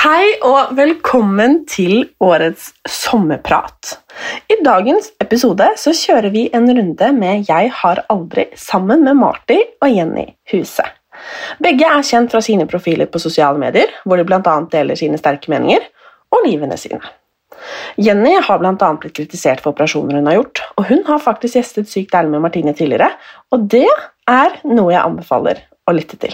Hei og velkommen til årets sommerprat. I dagens episode så kjører vi en runde med Jeg har aldri sammen med Marty og Jenny Huse. Begge er kjent fra sine profiler på sosiale medier, hvor de bl.a. deler sine sterke meninger og livene sine. Jenny har bl.a. blitt kritisert for operasjoner hun har gjort, og hun har faktisk gjestet Sykt ærlig med Martine tidligere, og det er noe jeg anbefaler å lytte til.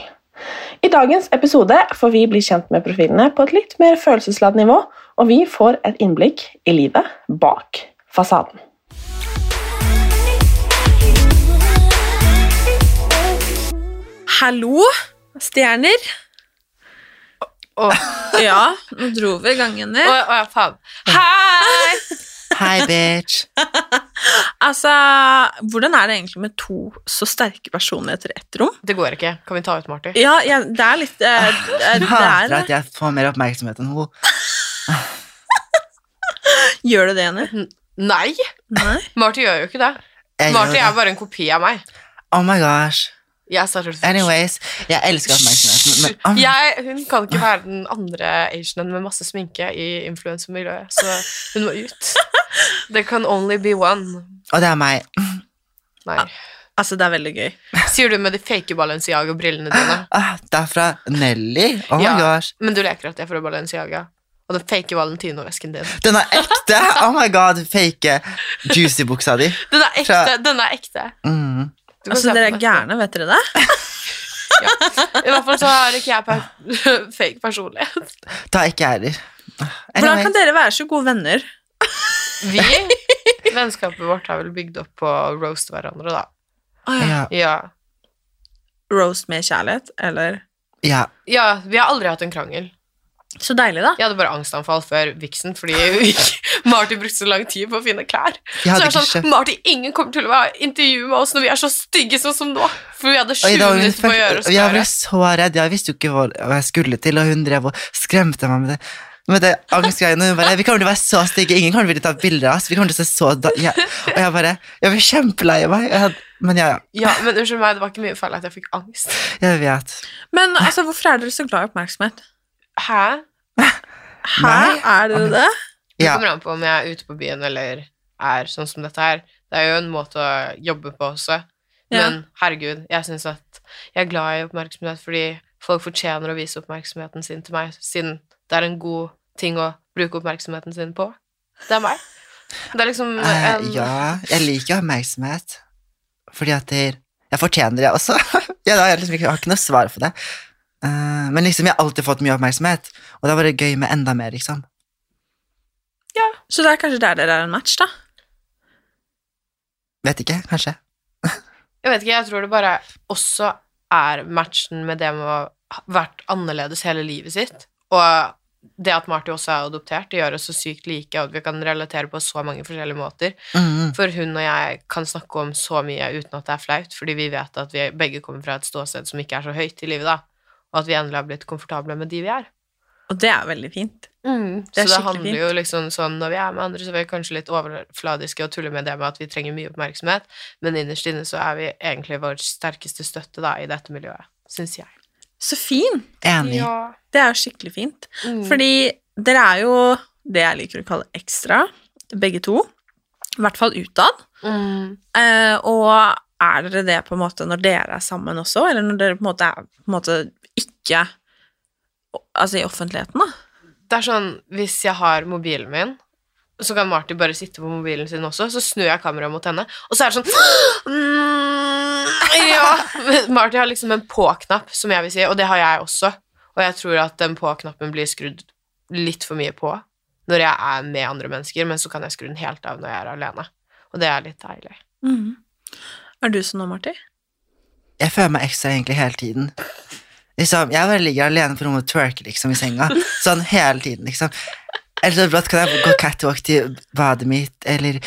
I dagens episode får vi bli kjent med profilene på et litt mer følelsesladd nivå, og vi får et innblikk i livet bak fasaden. Hallo, stjerner. ja, nå dro vi gangen ned. faen. Hei! Hei, bitch. Altså, hvordan er det egentlig med to så sterke personligheter i ett rom? Det går ikke. Kan vi ta ut Marty? Ja, jeg, det er litt eh, det er- Hun hater at jeg får mer oppmerksomhet enn hun. Gjør det det, Jenny? Nei! Nei? Marty gjør jo ikke det. Jeg gjør Marty det. er bare en kopi av meg. Oh my gosh. Jeg starter Anyways, jeg elsker oppmerksomheten, men oh, jeg, hun kan ikke være den andre Asianen med masse sminke i influensermiljøet, så hun må ut. Det kan only be one. og det er meg. Nei. Altså, det er veldig gøy. Sier du med de fake Balenciaga-brillene dine? Ah, det er fra Nelly. Oh my Ja. gosh. Men du leker at jeg er fra Balenciaga. Og den fake Valentino-vesken din. Den er ekte! Oh my god, fake juicy-buksa di. Den er ekte! Fra- Den er ekte. Mm. Du kan se Altså, på dere er nettet. gærne, vet dere det? I hvert fall så har ikke jeg per fake personlighet. Da er ikke jeg heller. Hvordan kan Anyway, dere være så gode venner? Vi, vennskapet vårt er vel bygd opp på å roaste hverandre, da. ja, Ja. Roast med kjærlighet, eller ja. ja, vi har aldri hatt en krangel. Så deilig, da. Jeg hadde bare angstanfall før viksen, fordi vi ikke- Marty brukte så lang tid på å finne klær. Jeg Så hadde jeg ikke er skjønt sånn, Marty, ingen kommer til å være- intervjue med oss når vi er så stygge sånn som nå. For vi hadde sju Oi, da var hun minutter på å fuck- gjøre oss Jeg ble klare. så redd, jeg visste jo ikke hva hva jeg skulle til, og hun drev og skremte meg med det. Med det angstgreiene, hun bare, Vi kommer til å være så stygge, ingen kommer til å ta bilder av oss. Vi kommer til å se så da ja. Og jeg bare Jeg ble kjempelei meg. Jeg hadde, men ja, ja. Ja, men unnskyld meg, det var ikke mye feil at jeg fikk angst. Jeg vet. Men altså, hvorfor er dere så glad i oppmerksomhet? Hæ? Hæ? Er dere det? Det Ja. kommer an på om jeg er ute på byen eller er sånn som dette her. Det er jo en måte å jobbe på også. Men herregud, jeg syns at jeg er glad i oppmerksomhet fordi folk fortjener å vise oppmerksomheten sin til meg, siden det er en god ting å bruke oppmerksomheten sin på. Det er meg. Det er liksom Eh, en ja, jeg liker oppmerksomhet. Fordi at det- jeg fortjener det også. ja, da, har jeg, liksom, ikke- jeg har ikke noe svar for det. Eh, men liksom, jeg har alltid fått mye oppmerksomhet, og da var det gøy med enda mer, liksom. Så det er kanskje der dere er en match, da? Vet ikke, kanskje. Jeg vet ikke, jeg tror det bare også er matchen med det med å ha vært annerledes hele livet sitt, og det at Marty også er adoptert, det gjør oss så sykt like, og at vi kan relatere på så mange forskjellige måter. Mm. For hun og jeg kan snakke om så mye uten at det er flaut, fordi vi vet at vi begge kommer fra et ståsted som ikke er så høyt i livet, da, og at vi endelig har blitt komfortable med de vi er. Mm. Og det er veldig fint. så er det skikkelig handler fint. jo liksom sånn når vi er med andre, så er vi kanskje litt overfladiske og tuller med det med at vi trenger mye oppmerksomhet, men innerst inne så er vi egentlig vår sterkeste støtte da i dette miljøet, syns jeg. Så fin! Enig. Det er jo skikkelig fint. Mm. Fordi dere er jo det jeg liker å kalle ekstra, begge to. I hvert fall utad. Mm. Eh, og er dere det på en måte når dere er sammen også, eller når dere på en måte er på en måte ikke Altså i offentligheten, da? Det er sånn, hvis jeg har mobilen min, så kan Marty bare sitte på mobilen sin også, så snur jeg kameraet mot henne, og så er det sånn mm, Ja! Men Marty har liksom en på-knapp, som jeg vil si, og det har jeg også. Og jeg tror at den på-knappen blir skrudd litt for mye på når jeg er med andre mennesker, men så kan jeg skru den helt av når jeg er alene. Og det er litt deilig. Mm. Er du sånn nå, Marti? Jeg føler meg ekstra egentlig hele tiden. Liksom, jeg bare ligger alene på rommet og twerker liksom, i senga. Sånn hele tiden, liksom. Eller så brått kan jeg gå catwalk til badet mitt, eller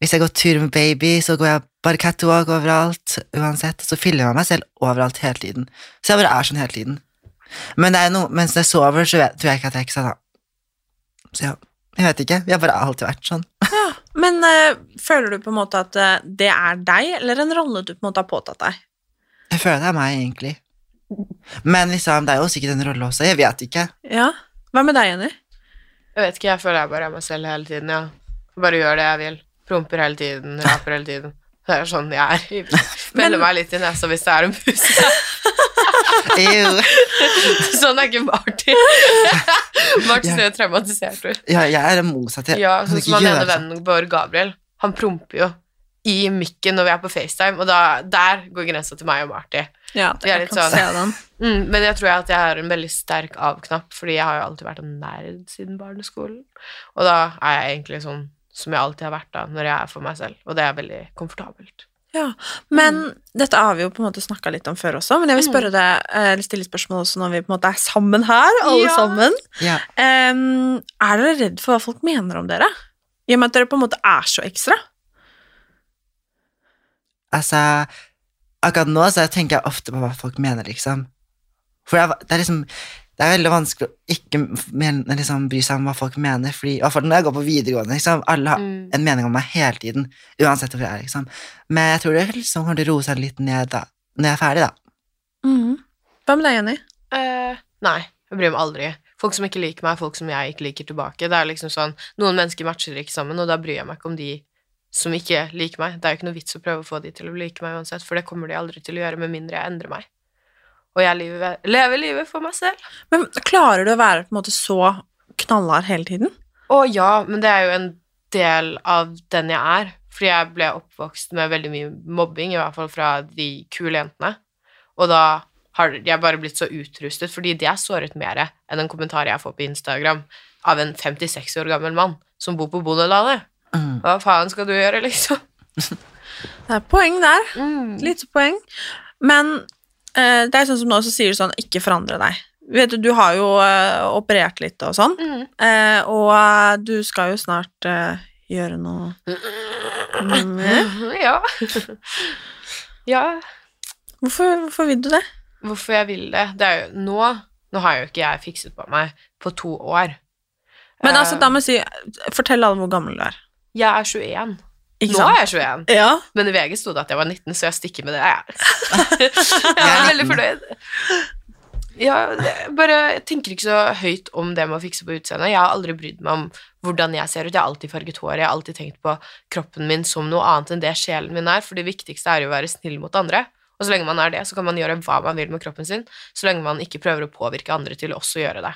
hvis jeg går tur med baby, så går jeg bare catwalk overalt, uansett. Så filmer jeg meg selv overalt hele tiden. Så jeg bare er sånn hele tiden. Men det er noe, mens jeg sover, så vet, tror jeg ikke at jeg ikke sa da. Så ja, jeg vet ikke. Jeg har bare alltid vært sånn. Men eh, føler du på en måte at eh, det er deg, eller en rolle du på en måte har påtatt deg? Jeg føler det er meg, egentlig. Men liksom, det er jo sikkert en rolle også. Jeg vet ikke. Ja. Hva med deg, Jenny? Jeg vet ikke, jeg føler jeg bare er meg selv hele tiden, ja. Bare gjør det jeg vil. Promper hele tiden, raper hele tiden. Det er sånn jeg er. Meller meg litt i nesa hvis det er en pus. Ew. Sånn er ikke Marty. Marty ser jo traumatisert ut. Ja, jeg er det motsatte. Ja, Jeg kan sånn ikke som han gjøre ene sånn. vennen vår, Gabriel, han promper jo i mikken når vi er på FaceTime, og da, der går grensa til meg og Marty. Ja, Vi er jeg litt kan sånn. se den. Mm, men jeg tror jeg at jeg har en veldig sterk av-knapp, fordi jeg har jo alltid vært en nerd siden barneskolen. Og da er jeg egentlig sånn som jeg alltid har vært da, når jeg er for meg selv, og det er veldig komfortabelt. Mm. Ja, men dette har vi jo på en måte snakka litt om før også, men jeg vil spørre deg, eh, eller stille spørsmål også når vi på en måte er sammen her, alle Ja. sammen. Ja. Em, er dere redd for hva folk mener om dere? I og med at dere på en måte er så ekstra. Altså, akkurat nå så tenker jeg ofte på hva folk mener, liksom. For det er, det er liksom Det er veldig vanskelig å ikke men- liksom, bry seg om hva folk mener, fordi i hvert fall når jeg går på videregående, liksom, alle har Mm. en mening om meg hele tiden, uansett hvor jeg er, liksom. Men jeg tror det liksom kommer til å roe seg litt ned da, når jeg er ferdig, da. Hva med deg, Jenny? Eh, nei, jeg bryr meg aldri. Folk som ikke liker meg, folk som jeg ikke liker tilbake. Det er liksom sånn, Noen mennesker matcher ikke sammen, og da bryr jeg meg ikke om de som ikke liker meg. Det er jo ikke noe vits å prøve å få de til å like meg uansett, for det kommer de aldri til å gjøre med mindre jeg endrer meg. Og jeg lever, lever livet for meg selv. Men klarer du å være på en måte så knallhard hele tiden? Å ja, men det er jo en del av den jeg er. Fordi jeg ble oppvokst med veldig mye mobbing, i hvert fall fra de kule jentene. Og da har jeg bare blitt så utrustet, fordi det er såret mer enn en kommentar jeg får på Instagram av en 56 år gammel mann som bor på bondelandet. Mm. Hva faen skal du gjøre, liksom? Mm. Det er poeng der. Lite poeng. Men eh, det er sånn som nå, så sier du sånn ikke forandre deg. Vet du, du har jo eh, operert litt og sånn, Mm. eh, og eh, du skal jo snart eh, gjøre noe Mm. Ja. ja. Hvorfor, hvorfor vil du det? hvorfor jeg vil det Det er jo nå Nå har jo ikke jeg fikset på meg på to år. Men Eh, altså, da må jeg si Fortell alle hvor gammel du er. Jeg er 21. Ikke Nå sant? er jeg 21. Ja. Men i VG sto det at jeg var 19, så jeg stikker med det. Jeg, jeg er veldig fornøyd. Ja, det- bare, jeg tenker ikke så høyt om det med å fikse på utseendet. Jeg har aldri brydd meg om hvordan jeg ser ut. Jeg har alltid farget hår. Jeg har alltid tenkt på kroppen min som noe annet enn det sjelen min er, for det viktigste er jo å være snill mot andre. Og så lenge man er det, så kan man gjøre hva man vil med kroppen sin, så lenge man ikke prøver å påvirke andre til også å gjøre det.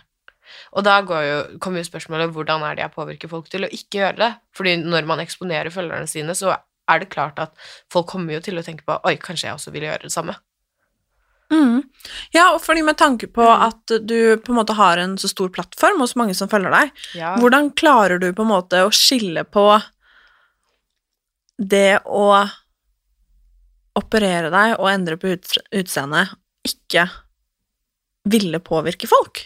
Og da går jo, kommer jo spørsmålet hvordan er det jeg påvirker folk til å ikke gjøre det? Fordi når man eksponerer følgerne sine, så er det klart at folk kommer jo til å tenke på oi, kanskje jeg også vil gjøre det samme. Mm. ja, og fordi med tanke på at du på en måte har en så stor plattform hos mange som følger deg, Hvor- Hvordan klarer du på en måte å skille på det å operere deg og endre på ut- utseendet, ikke ville påvirke folk?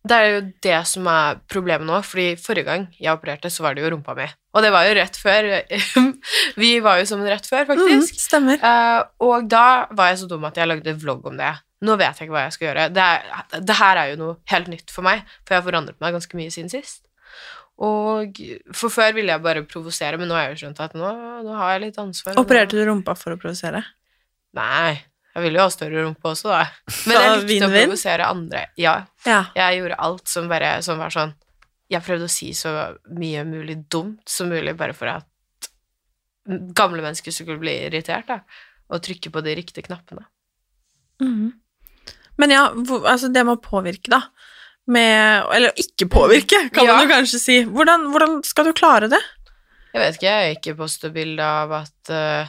Det er jo det som er problemet nå, fordi forrige gang jeg opererte, så var det jo rumpa mi. Og det var jo rett før. Vi var jo sammen rett før, Mm, faktisk. stemmer. Eh, og da var jeg så dum at jeg lagde vlogg om det. Nå vet jeg ikke hva jeg skal gjøre. Det, er, det her er jo noe helt nytt for meg, for jeg har forandret meg ganske mye siden sist. Og For før ville jeg bare provosere, men nå har jeg jo skjønt at nå, nå har jeg litt ansvar. og nå- Opererte du rumpa for å provosere? Nei. Jeg ville jo ha større rumpe også, da. Men Så jeg likte å vinn-vinn? provosere andre. Ja. Ja. Jeg gjorde alt som bare som var sånn Jeg prøvde å si så mye mulig dumt som mulig, bare for at gamle mennesker skulle bli irritert, da. Og trykke på de riktige knappene. Mhm. Men ja, hvor, altså det med å påvirke, da. Med, eller ikke påvirke, kan Ja. man jo kanskje si. Hvordan, hvordan skal du klare det? Jeg vet ikke, jeg ikke poste bilde av at eh,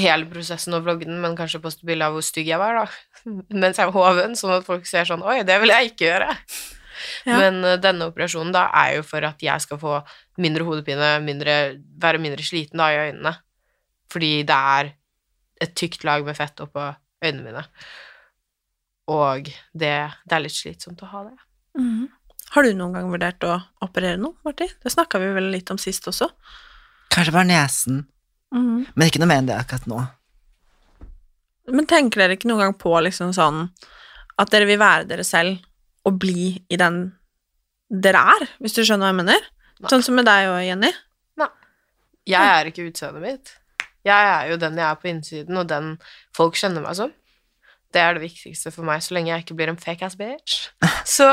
hele prosessen og vloggen, men kanskje poste bilde av hvor stygg jeg var, da. Mens jeg var hoven, sånn at folk ser sånn Oi, det vil jeg ikke gjøre. Ja. Men eh, denne operasjonen da er jo for at jeg skal få mindre hodepine, mindre, være mindre sliten da i øynene. Fordi det er et tykt lag med fett oppå øynene mine. Og det, det er litt slitsomt å ha det. Mhm. Har du noen gang vurdert å operere noe, Marti? Det snakka vi vel litt om sist også. Kanskje bare nesen. Mhm. Men ikke noe mer enn det akkurat nå. Men tenker dere ikke noen gang på liksom sånn at dere vil være dere selv og bli i den dere er, hvis du skjønner hva jeg mener? Nei. Sånn som med deg og Jenny. Jeg er ikke utseendet mitt. Jeg er jo den jeg er på innsiden, og den folk kjenner meg som. Det er det viktigste for meg, så lenge jeg ikke blir en fake ass bitch. Så,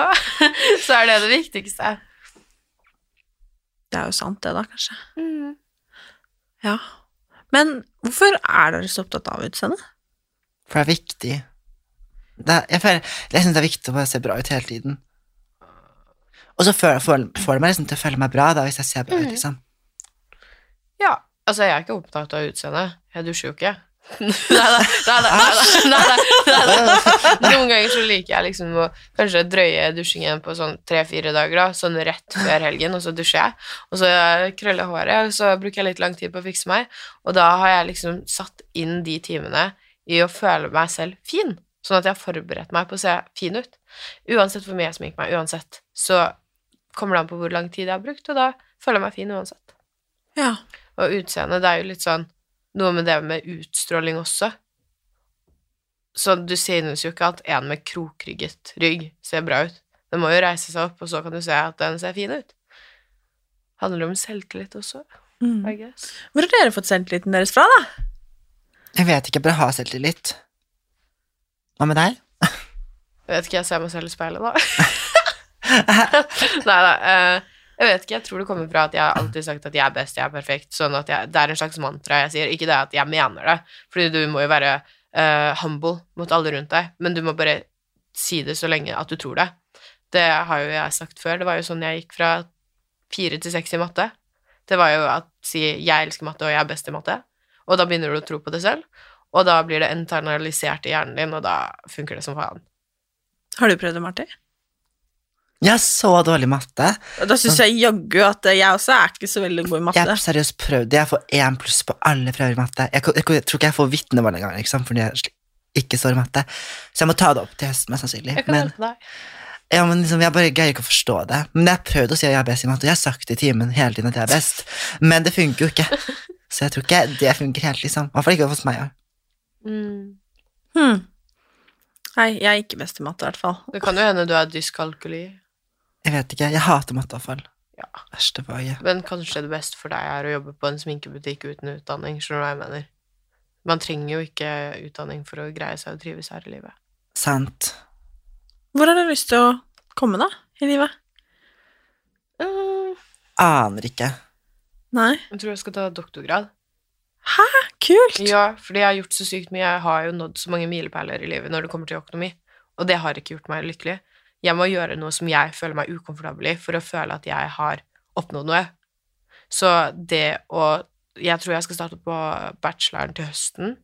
så er det det viktigste. Det er jo sant, det, da, kanskje. Mm. Ja. Men hvorfor er dere så opptatt av utseendet? For det er viktig. Det er, jeg føler, jeg syns det er viktig å bare se bra ut hele tiden. Og så føler, får, får det meg liksom til å føle meg bra da, hvis jeg ser bra ut, liksom. Mhm. Ja, altså jeg er ikke opptatt av utseendet. Jeg dusjer jo ikke. Neida, neida, neida, neida, neida. Noen ganger så liker jeg liksom å kanskje drøye dusjingen på sånn tre-fire dager, da, sånn rett før helgen, og så dusjer jeg. Og så krøller jeg håret, og så bruker jeg litt lang tid på å fikse meg. Og da har jeg liksom satt inn de timene i å føle meg selv fin, sånn at jeg har forberedt meg på å se fin ut. Uansett hvor mye jeg sminker meg, uansett, så kommer det an på hvor lang tid jeg har brukt, og da føler jeg meg fin uansett. Ja. Og utseende, det er jo litt sånn Noe med det med utstråling også. Så du synes jo ikke at en med krokrygget rygg ser bra ut. Den må jo reise seg opp, og så kan du se at den ser fin ut. Handler om selvtillit også, Mm. I guess. Hvor har dere fått selvtilliten deres fra, da? Jeg vet ikke, jeg bør ha selvtillit. Hva med deg? Jeg vet ikke, jeg ser meg selv i speilet, da. Nei da. Jeg vet ikke, jeg tror det kommer fra at jeg har alltid sagt at jeg er best, jeg er perfekt. Sånn at jeg, Det er en slags mantra jeg sier. Ikke det at jeg mener det, fordi du må jo være eh, humble mot alle rundt deg, men du må bare si det så lenge at du tror det. Det har jo jeg sagt før. Det var jo sånn jeg gikk fra fire til seks i matte. Det var jo at si 'jeg elsker matte, og jeg er best i matte', og da begynner du å tro på det selv. Og da blir det internalisert i hjernen din, og da funker det som faen. Har du prøvd det, Marti? Jeg har så dårlig matte. Da syns jeg jaggu at eh, jeg også er ikke så veldig god i Jeg matte. har seriøst prøvd det. Jeg får én pluss på alle prøver i matte. Jeg, ko- jeg, ko- jeg tror ikke jeg får vitnemål engang, liksom, fordi jeg sli- ikke står i matte. Så jeg må ta det opp til høsten, mest sannsynlig. Jeg kan Men, hjelpe deg. ja, men liksom, jeg bare greier ikke å forstå det. Men jeg har prøvd å si at jeg er best i matte, og jeg har sagt det i timen hele tiden at jeg er best, men det funker jo ikke. Så jeg tror ikke det funker helt, liksom. I hvert fall ikke hos meg. ja. Hmm. Nei, jeg er ikke best i matte, i hvert fall. Det kan jo hende du er dyskalkuli, Jeg vet ikke. Jeg hater matte, iallfall. Ja. Verste faget. men kanskje det beste for deg er å jobbe på en sminkebutikk uten utdanning, skjønner du hva jeg mener? Man trenger jo ikke utdanning for å greie seg og trives her i livet. Sant. Hvor har dere lyst til å komme, da? I livet? Aner ikke. Nei. Jeg tror jeg skal ta doktorgrad. Kult! Ja, fordi jeg har gjort så sykt mye. Jeg har jo nådd så mange milepæler i livet når det kommer til økonomi, og det har ikke gjort meg lykkelig. Jeg må gjøre noe som jeg føler meg ukomfortabel i, for å føle at jeg har oppnådd noe. Så det å Eh, Jeg tror jeg skal starte på bacheloren til høsten.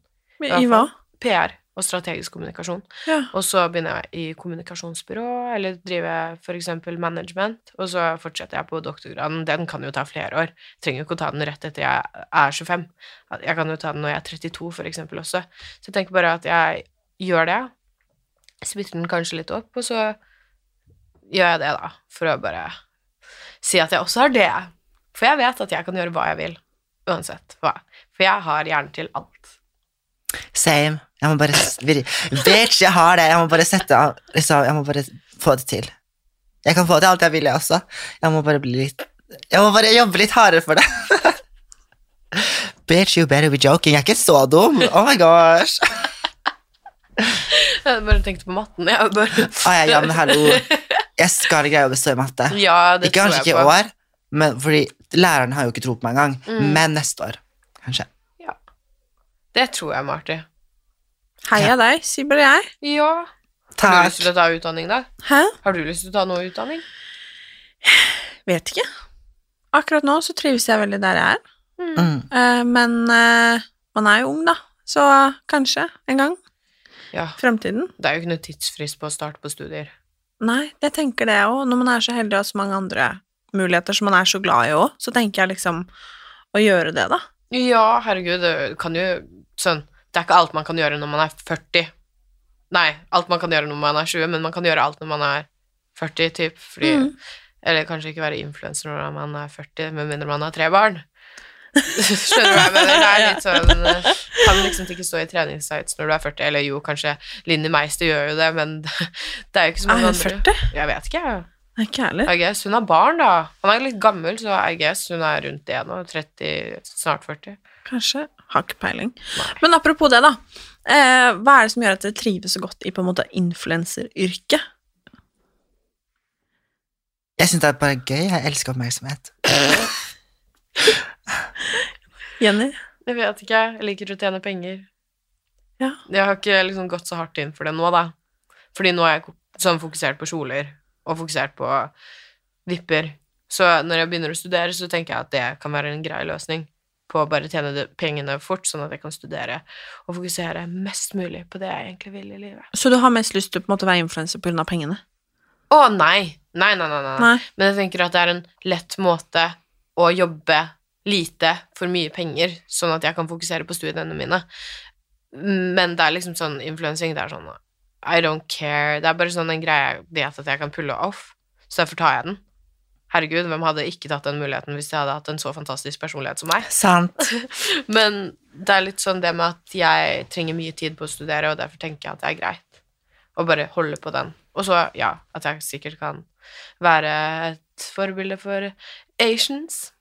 Men I hva? PR og strategisk kommunikasjon. Ja. Og så begynner jeg i kommunikasjonsbyrå, eller driver f.eks. management, og så fortsetter jeg på doktorgraden. Den kan jo ta flere år. Jeg trenger jo ikke å ta den rett etter jeg er 25. At Jeg kan jo ta den når jeg er 32, f.eks. også. Så jeg tenker bare at jeg gjør det. Splitter den kanskje litt opp, og så gjør jeg det, da. For å bare si at jeg også har det. For jeg vet at jeg kan gjøre hva jeg vil. Uansett hva. For jeg har hjernen til alt. Same. Jeg må bare s- vir- Bitch, jeg har det. Jeg må bare sette av liksom, Jeg må bare få det til. Jeg kan få til alt jeg vil, jeg også. Jeg må bare bli litt Jeg må bare jobbe litt hardere for det. Bitch, you better be joking. Jeg er ikke så dum. Oh my gosh. Jeg bare tenkte på matten. Jeg bare... Ah, ja, ja, men hallo. Jeg skal greie å bestå i matte. Ja, det Ikke tror kanskje jeg ikke i på. Mm. år, men fordi læreren har jo ikke tro på meg engang. Men neste år, kanskje. Det tror jeg, Marty. Heia deg, sier bare jeg. Ja. Har du Takk. lyst til å ta utdanning, da? Hæ? Har du lyst til å ta noe utdanning? Vet ikke. Akkurat nå så trives jeg veldig der jeg er. Mm. Eh, men eh, man er jo ung, da. Så kanskje en gang. Ja. Fremtiden. Det er jo ikke noe tidsfrist på å starte på studier. Nei, jeg tenker det òg. Når man er så heldig og har så mange andre muligheter som man er så glad i òg, så tenker jeg liksom å gjøre det, da. Ja, herregud, det kan jo sånn Det er ikke alt man kan gjøre når man er 40. Nei, alt man kan gjøre når man er 20, men man kan gjøre alt når man er 40, typ. Fordi Mm. Eller kanskje ikke være influenser når man er 40, med mindre man har tre barn. Skjønner du hva jeg mener? Det er litt sånn eh, Kan liksom ikke stå i treningstights når du er 40. Eller jo, kanskje Linni Meister gjør jo det, men det er jo ikke så Er mange hun andre. 40? Jeg vet ikke, jeg. Det er ikke ærlig. I guess. Hun har barn, da. Han er litt gammel, så I guess hun er rundt det nå. 30, snart 40. Kanskje. Har ikke peiling. Men apropos det, da. Eh, hva er det som gjør at dere trives så godt i på en måte influenseryrket? Jeg syns det er bare gøy. Jeg elsker oppmerksomhet. Jenny? Jeg vet ikke. Jeg liker å tjene penger. Ja. Jeg har ikke liksom gått så hardt inn for det nå, da. Fordi nå er jeg ko- sånn fokusert på kjoler, og fokusert på vipper. Så når jeg begynner å studere, så tenker jeg at det kan være en grei løsning på å bare tjene de pengene fort, sånn at jeg kan studere og fokusere mest mulig på det jeg egentlig vil i livet. Så du har mest lyst til å på en måte være influenser pga. pengene? Å, nei! Nei, nei, nei, nei. Nei. Men jeg tenker at det er en lett måte å jobbe lite for mye penger, sånn at jeg kan fokusere på studiene mine. Men det er liksom sånn influensing, det er sånn I don't care. Det er bare sånn en greie jeg vet at jeg kan pulle off, så derfor tar jeg den. Herregud, hvem hadde ikke tatt den muligheten hvis de hadde hatt en så fantastisk personlighet som meg? Sant. Men det er litt sånn det med at jeg trenger mye tid på å studere, og derfor tenker jeg at det er greit å bare holde på den. Og så, ja, at jeg sikkert kan være et forbilde for Asians.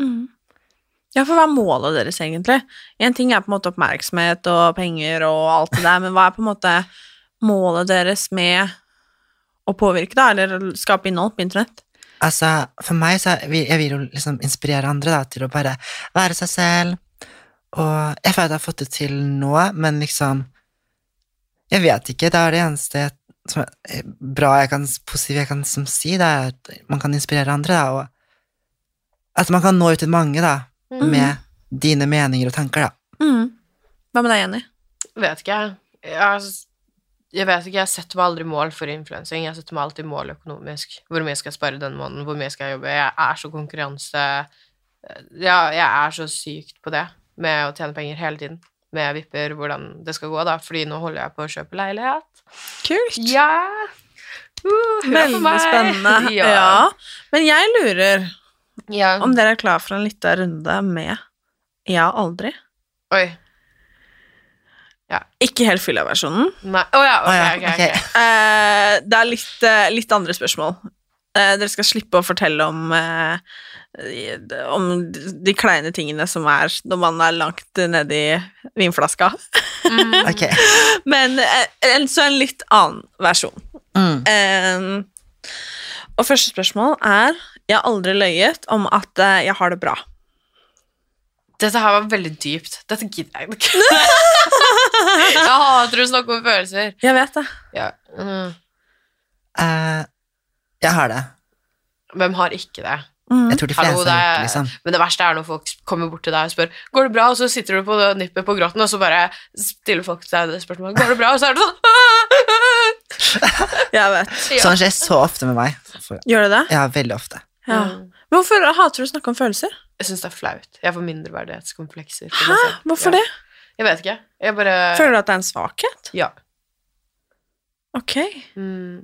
Mm. Ja, for hva er målet deres egentlig? En ting er på en måte oppmerksomhet og penger og alt det der, men hva er på en måte målet deres med å påvirke, da, eller skape innhold på internett? Altså, for meg så er, vi- Jeg vil jo liksom inspirere andre da, til å bare være seg selv. Og jeg føler at jeg har fått det til nå, men liksom Jeg vet ikke. Det er det eneste som er eh, bra jeg kan, positivt jeg kan som si, det er at man kan inspirere andre, da, og at man kan nå ut til mange, da, Mm. med dine meninger og tanker, da. Mm. Hva med deg, Jenny? Vet ikke jeg. Jeg, jeg vet ikke, jeg setter meg aldri mål for influensing. Jeg setter meg alltid mål økonomisk. Hvor mye skal jeg spare denne måneden? Hvor mye skal jeg jobbe? Jeg er så konkurranse... eh, Ja, jeg er så sykt på det med å tjene penger hele tiden. Med vipper, hvordan det skal gå, da. Fordi nå holder jeg på å kjøpe leilighet. Kult! Ja! Uh, hurra for Veldig meg. spennende. Ja. Ja. Men jeg lurer Ja. om dere er klar for en liten runde med Ja, aldri. Oi. Ikke helt fylla-versjonen. Nei. Å ja, Å Ah, ja, ok, ok, ok. ok. Eh, det er litt, eh, litt andre spørsmål. Eh, dere skal slippe å fortelle om, eh, i- om de kleine tingene som er når man er langt nedi vinflaska. Ok. Men eh, en, så en litt annen versjon. Mm. Eh, og første spørsmål er Jeg har aldri løyet om at eh, jeg har det bra. Dette her var veldig dypt. Dette gidder jeg ikke. jeg hater å snakke om følelser. Jeg vet det. Ja. Mm. Eh, jeg har det. Mm. Hvem har ikke det? Jeg tror de fleste Hallo, det har er, gjort det, liksom. Men det verste er når folk kommer bort til deg og spør Går det bra, og så sitter du på det nippet på gråten, og så bare stiller folk deg det spørsmålet Går det bra, og så er det sånn Jeg vet. Ja. Sånn skjer så ofte med meg. For- Gjør det det? Ja, veldig ofte. Ja. Men hvorfor hater du å snakke om følelser? Jeg syns det er flaut. Jeg får mindreverdighetskomplekser. Hæ? for meg selv. Hvorfor sånn. ja. det? Jeg vet ikke. Jeg bare Føler du at det er en svakhet? Ja. Ok. Hm.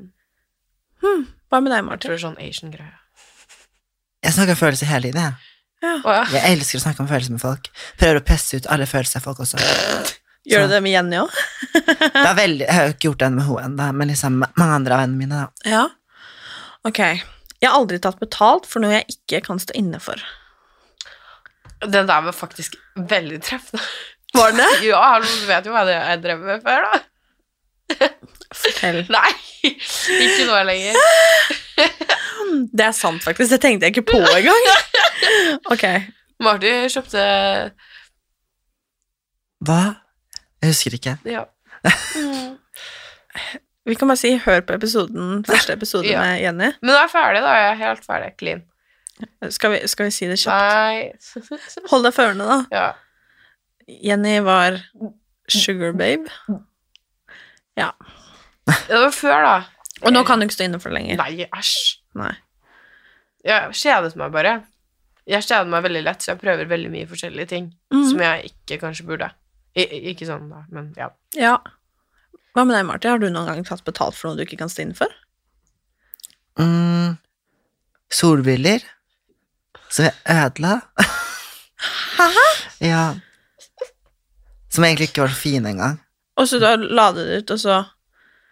Mm. Hva med deg, Jeg Martin? tror det er sånn Asian-greie. Jeg snakker om følelser hele tiden. Jeg. Å ja. jeg elsker å snakke om følelser med folk. Prøver å pesse ut alle følelser av folk også. Gjør du det med Jenny òg? Det er veldig, jeg har jo ikke gjort den med henne ennå, men liksom mange andre av vennene mine. da. Ja. Ok. Jeg har aldri tatt betalt for noe jeg ikke kan stå inne for. Den der var faktisk veldig treffende. Var det? Ja, hallo, du vet jo hva det er jeg drev med før, da. Fortell. Nei, ikke nå lenger. Det er sant, faktisk. Det tenkte jeg ikke på engang. Ok. Marty kjøpte Hva? Jeg husker ikke. Ja. Vi kan bare si hør på episoden, første episode Ja. med Jenny. Men nå er jeg ferdig, da. Jeg er helt ferdig. Clean. Skal vi, skal vi si det kjapt? Nei Hold deg førende, da. Ja. Jenny var sugar babe. Det var før, da. Og nå kan du ikke stå inne for det lenger. Nei, æsj. Nei. Jeg kjedet meg bare. Jeg kjeder meg veldig lett, så jeg prøver veldig mye forskjellige ting Mhm. som jeg ikke kanskje burde. I, i- ikke sånn, da, men ja. Ja. Hva med deg, Marti? Har du noen gang tatt betalt for noe du ikke kan stå inne for? Mm, solbriller som jeg ødela. ja. Som egentlig ikke var så fine engang. Og så da la du det ut, og så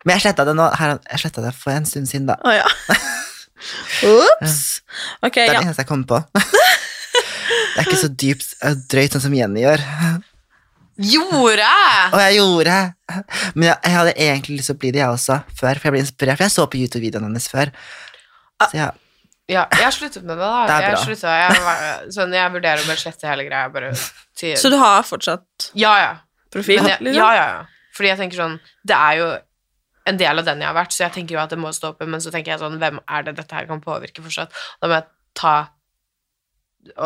Men jeg sletta det nå her, Jeg slettet det for en stund siden, da. Å ja. Ops. Ok, Det er ja. det eneste jeg kom på. det er ikke så dypt eh, drøyt sånn som Jenny gjør. Gjorde jeg?! Og jeg gjorde det. Men jeg, jeg hadde egentlig lyst til å bli det, jeg også, før. For jeg ble inspirert. For jeg så på YouTube-videoene hennes før. Så ja, Ah. Ja, jeg har sluttet med det, da. Det er jeg, bra. slutta, jeg, var- sånn, jeg vurderer å bare slette hele greia. Bare til, Så du har fortsatt ja, ja. profil? Men jeg, liksom? ja, ja, ja. Fordi jeg tenker sånn Det er jo en del av den jeg har vært, så jeg tenker jo at det må stå oppe, men så tenker jeg sånn Hvem er det dette her kan påvirke fortsatt? Da må jeg ta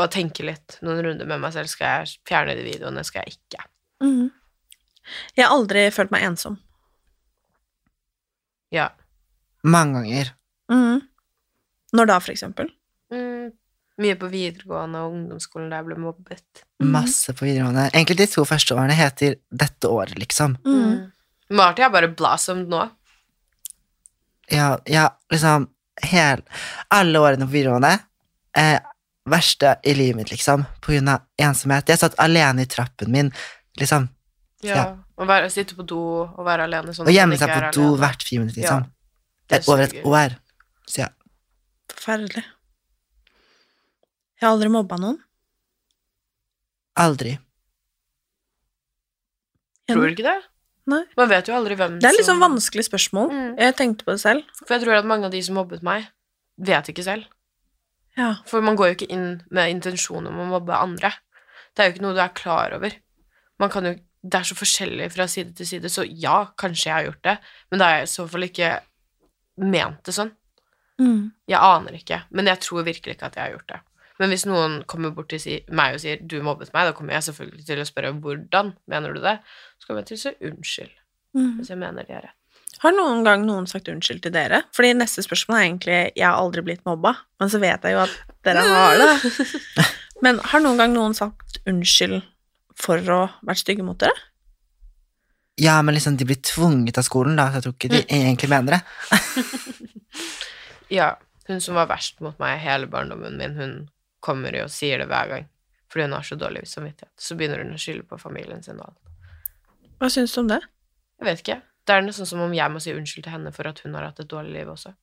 og tenke litt noen runder med meg selv. Skal jeg fjerne de videoene? Skal jeg ikke? Mhm. Jeg har aldri følt meg ensom. Ja. mange ganger. Mhm. Når da, for eksempel? Mye på videregående og ungdomsskolen der jeg ble mobbet. Masse på videregående. Egentlig de to første årene heter 'dette året', liksom. Mhm. Mm. Marty er bare blossomed nå. Ja, ja liksom hel, Alle årene på videregående. Eh, verste i livet mitt, liksom. På grunn av ensomhet. Jeg satt alene i trappen min, liksom. Ja. Å være, sitte på do og være alene sånn Og at gjemme man seg ikke på er do alene. hvert friminutt, Ja, liksom. det Et- Over et suger. år. Så ja. Forferdelig. Jeg har aldri mobba noen. Aldri. Tror du ikke det? Nei. Man vet jo aldri hvem Det er litt sånn som- vanskelig spørsmål. Mm. Jeg tenkte på det selv. For jeg tror at mange av de som mobbet meg, vet ikke selv. Ja. For man går jo ikke inn med intensjon om å mobbe andre. Det er jo ikke noe du er klar over. Man kan jo, det er så forskjellig fra side til side, så ja, kanskje jeg har gjort det, men det er i så fall ikke ment det sånn. Mm. Jeg aner ikke, men jeg tror virkelig ikke at jeg har gjort det. Men hvis noen kommer bort til si, meg og sier 'du mobbet meg', da kommer jeg selvfølgelig til å spørre 'hvordan mener du det?' Så kommer jeg til å si 'unnskyld', hvis jeg mener det er rett. Mm. Har noen gang noen sagt unnskyld til dere? Fordi neste spørsmål er egentlig 'jeg har aldri blitt mobba', men så vet jeg jo at dere har det. Men har noen gang noen sagt unnskyld for å vært stygge mot dere? Ja, men liksom, de blir tvunget av skolen, da, så jeg tror ikke de Mm. egentlig mener det. Ja, hun som var verst mot meg hele barndommen min, hun kommer jo og sier det hver gang. Fordi hun har så dårlig samvittighet. Så begynner hun å skylde på familien sin og alt. Hva syns du om det? Jeg vet ikke. Det er nesten som om jeg må si unnskyld til henne for at hun har hatt et dårlig liv også.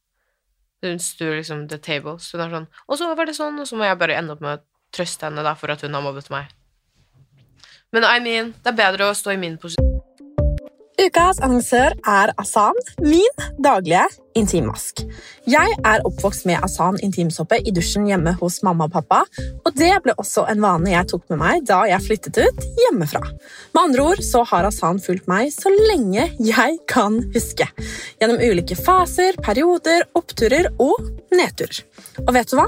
Hun stuer liksom the tables. Hun er sånn Og så var det sånn, og så må jeg bare ende opp med å trøste henne da for at hun har mobbet meg. Men I mean, det er bedre å stå i min posisjon. Ukas annonsør er Asan, min daglige intimvask. Jeg er oppvokst med Asan intimsåpe i dusjen hjemme hos mamma og pappa, og det ble også en vane jeg tok med meg da jeg flyttet ut hjemmefra. Med andre ord så har Asan fulgt meg så lenge jeg kan huske. Gjennom ulike faser, perioder, oppturer og nedturer. Og vet du hva?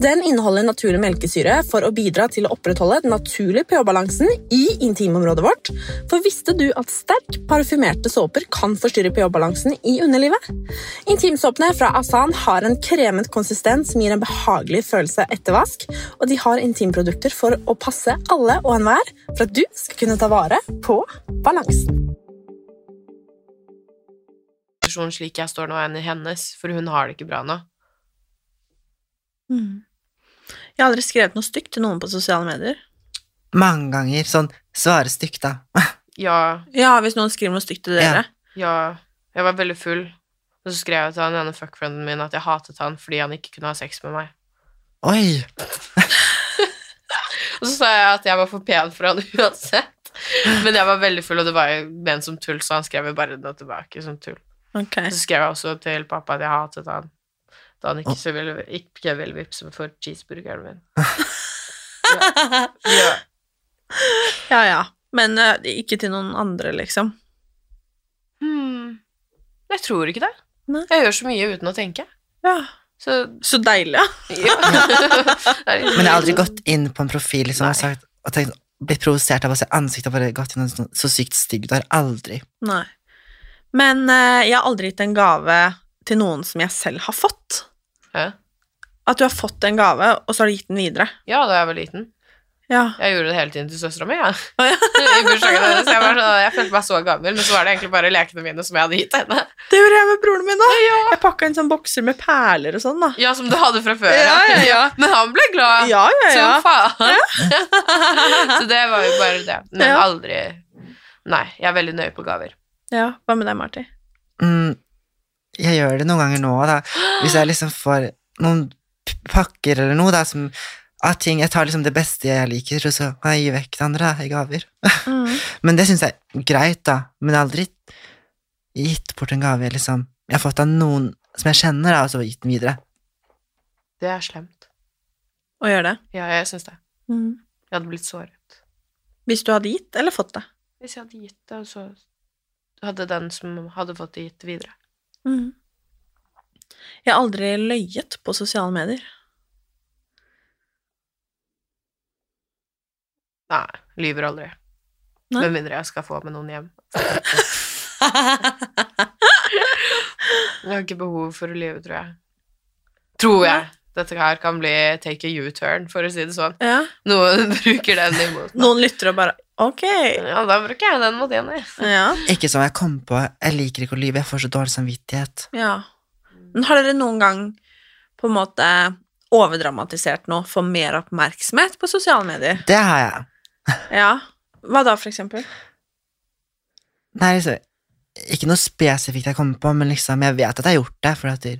Den inneholder naturlig melkesyre for å bidra til å opprettholde den naturlige pH-balansen i intimområdet vårt. For visste du at sterk parfymerte såper kan forstyrre pH-balansen i underlivet? Intimsåpene fra Asan har en kremet konsistens som gir en behagelig følelse etter vask, og de har intimprodukter for å passe alle og enhver for at du skal kunne ta vare på balansen. slik jeg står nå, enn i hennes, for hun har det ikke bra nå. Jeg har aldri skrevet noe stygt til noen på sosiale medier. Mange ganger. Sånn svare stygt, da. Ja, Ja, hvis noen skriver noe stygt til dere. Ja, jeg var veldig full. Og så skrev jeg til han ene fuckfrienden min at jeg hatet han fordi han ikke kunne ha sex med meg. Oi! Og så sa jeg at jeg var for pen for han uansett. Men jeg var veldig full, og det var jo ment som tull, så han skrev jo bare det tilbake som tull. Ok. Så skrev jeg også til pappa at jeg hatet han da han ikke, så ville, ikke ville vippse meg for cheeseburgeren min. ja. ja. Ja, ja. Men eh, ikke til noen andre, liksom. Hmm. Jeg tror ikke det. Jeg gjør så mye uten å tenke. Så, deilig, ja. Men jeg har aldri gått inn på en profil liksom, og, sagt, og tenkt, blitt provosert av å se ansiktet og bare gått inn og sånn, så sykt stygg du er. Aldri. Nei. Men eh, jeg har aldri gitt en gave til noen som jeg selv har fått. Hæ? At du har fått en gave, og så har du gitt den videre. Ja, da jeg var liten. Ja. Jeg gjorde det hele tiden til søstera mi. Ja. I bursdagen hennes. Jeg, var sånn, jeg følte meg så gammel, men så var det egentlig bare lekene mine som jeg hadde gitt henne. Det gjorde jeg med broren min, da. Jeg pakka inn sånn bokser med perler og sånn, da. Ja, Som du hadde fra før. Ja, ja, ja. Men han ble glad. Ja, ja, ja. Som faen. så det var jo bare det. Men Ja. aldri Nei, jeg er veldig nøye på gaver. Ja, Hva med deg, Marti? Mm, jeg gjør det noen ganger nå, da. Hvis jeg liksom får noen p- pakker eller noe, da, som av ting Jeg tar liksom det beste jeg liker, og så kan jeg gi vekk det andre da, i gaver. Men det syns jeg er greit, da. Men jeg har aldri gitt bort en gave, liksom. Jeg har fått av noen som jeg kjenner, da, og så gitt den videre. Det er slemt. Å gjøre det? Ja, jeg syns det. Mm. Jeg hadde blitt såret. Hvis du hadde gitt eller fått det? Hvis jeg hadde gitt det, og så hadde den som hadde fått det, gitt det videre. Mm. Jeg har aldri løyet på sosiale medier. Nei, lyver aldri. Nei. Med mindre jeg skal få med noen hjem. jeg har ikke behov for å lyve, tror jeg. Tror jeg. Dette her kan bli take a U-turn, for å si det sånn. Ja. Noen bruker den imot meg. Noen lytter og bare Ok. Ja, da bruker jeg den mot Jenny. Ja. Ikke som jeg kom på. Jeg liker ikke å lyve. Jeg får så dårlig samvittighet. ja. Men har dere noen gang på en måte overdramatisert noe for mer oppmerksomhet på sosiale medier? Det har jeg. Ja. Hva da, for eksempel? Nei, liksom, ikke noe spesifikt jeg kommer på, men liksom, jeg vet at jeg har gjort det for at, det,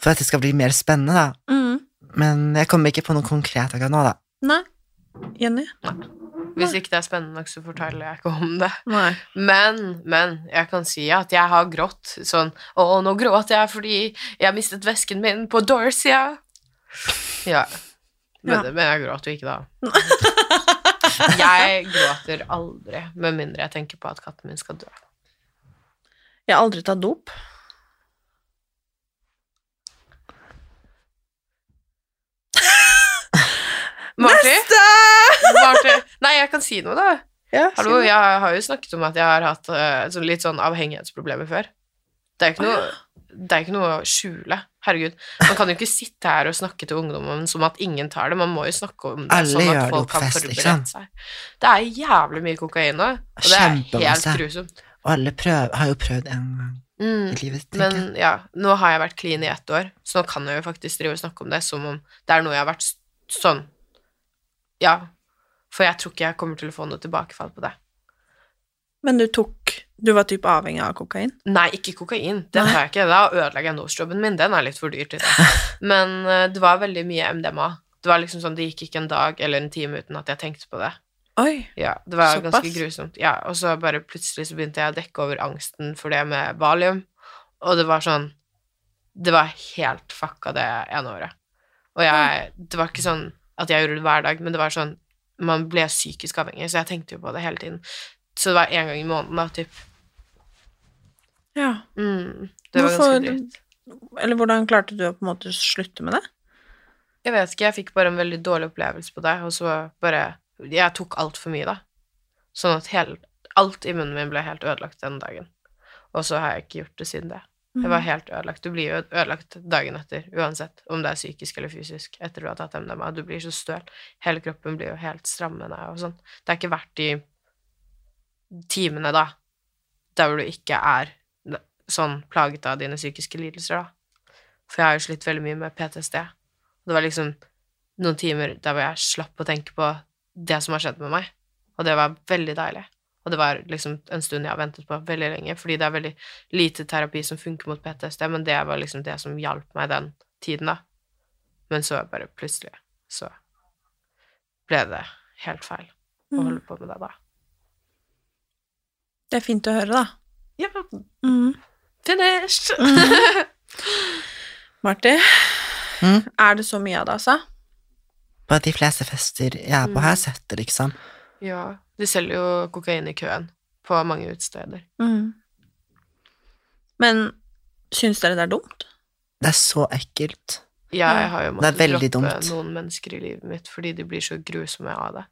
for at det skal bli mer spennende, da. Mm. Men jeg kommer ikke på noe konkret akkurat nå, da. Nei. Jenny? Hvis ikke det er spennende nok, så forteller jeg ikke om det. Nei. Men, men, jeg kan si at jeg har grått sånn Å, nå gråt jeg fordi jeg mistet vesken min på Dorsia. Ja. Men, Ja. men jeg gråter jo ikke da. jeg gråter aldri, med mindre jeg tenker på at katten min skal dø. Jeg har aldri tatt dop. Marty? Neste! Marty? Nei, jeg kan si noe, da. Ja, si Hallo, det. jeg har jo snakket om at jeg har hatt eh, sånn litt sånn avhengighetsproblemer før. Det er jo ikke noe, det er ikke noe å skjule. Herregud. Man kan jo ikke sitte her og snakke til ungdommen som at ingen tar det. Man må jo snakke om det Alle sånn gjør at det folk på kan fest, ikke forberede sant? seg. Det er jævlig mye kokain nå, og det er helt Kjempemasse. grusomt. Og alle prøv, har jo prøvd en gang Mm, i livet, tenker Men ja, nå har jeg vært clean i ett år, så nå kan jeg jo faktisk drive og snakke om det som om det er noe jeg har vært s- sånn Ja. For jeg tror ikke jeg kommer til å få noe tilbakefall på det. Men du tok Du var typ avhengig av kokain? Nei, ikke kokain. Den tar jeg ikke. Da ødelegger jeg nosejobben min. Den er litt for dyr til det. Men eh, det var veldig mye MDMA. Det var liksom sånn, det gikk ikke en dag eller en time uten at jeg tenkte på det. Oi. Ja, det var Såpass. ganske grusomt. Ja, og så bare plutselig så begynte jeg å dekke over angsten for det med valium. Og det var sånn Det var helt fucka det ene året. Og jeg Det var ikke sånn at jeg gjorde det hver dag, men det var sånn Man ble psykisk avhengig, så jeg tenkte jo på det hele tiden. Så det var én gang i måneden, da, typ. Ja. Mm, det var ganske dritt. Eller hvordan klarte du å på en måte slutte med det? Jeg vet ikke, jeg fikk bare en veldig dårlig opplevelse på det, og så bare Jeg tok altfor mye, da. Sånn at hele, alt i munnen min ble helt ødelagt den dagen. Og så har jeg ikke gjort det siden det. Jeg var Mhm. helt ødelagt. Du blir jo ødelagt dagen etter, uansett om det er psykisk eller fysisk, etter du har tatt MDMA. Du blir så støl. Hele kroppen blir jo helt strammende og sånn. Det er ikke verdt de timene, da, der hvor du ikke er sånn plaget av dine psykiske lidelser, da. For jeg har jo slitt veldig mye med PTSD. Det var liksom noen timer der hvor jeg slapp å tenke på det som har skjedd med meg. Og det var veldig deilig. Og det var liksom en stund jeg har ventet på veldig lenge, fordi det er veldig lite terapi som funker mot PTSD, men det var liksom det som hjalp meg den tiden, da. Men så bare plutselig så ble det helt feil å Mhm. holde på med det, da. Det er fint å høre, da. Ja. Mm. Finished! Marti, er det så mye av det, altså? På de fleste fester jeg er på, Mm. har jeg sett det, liksom. Ja. De selger jo kokain i køen på mange utesteder. Men syns dere det er dumt? Det er så ekkelt. Ja, jeg har jo måttet Det er veldig droppe dumt. noen mennesker i livet mitt fordi de blir så grusomme av det.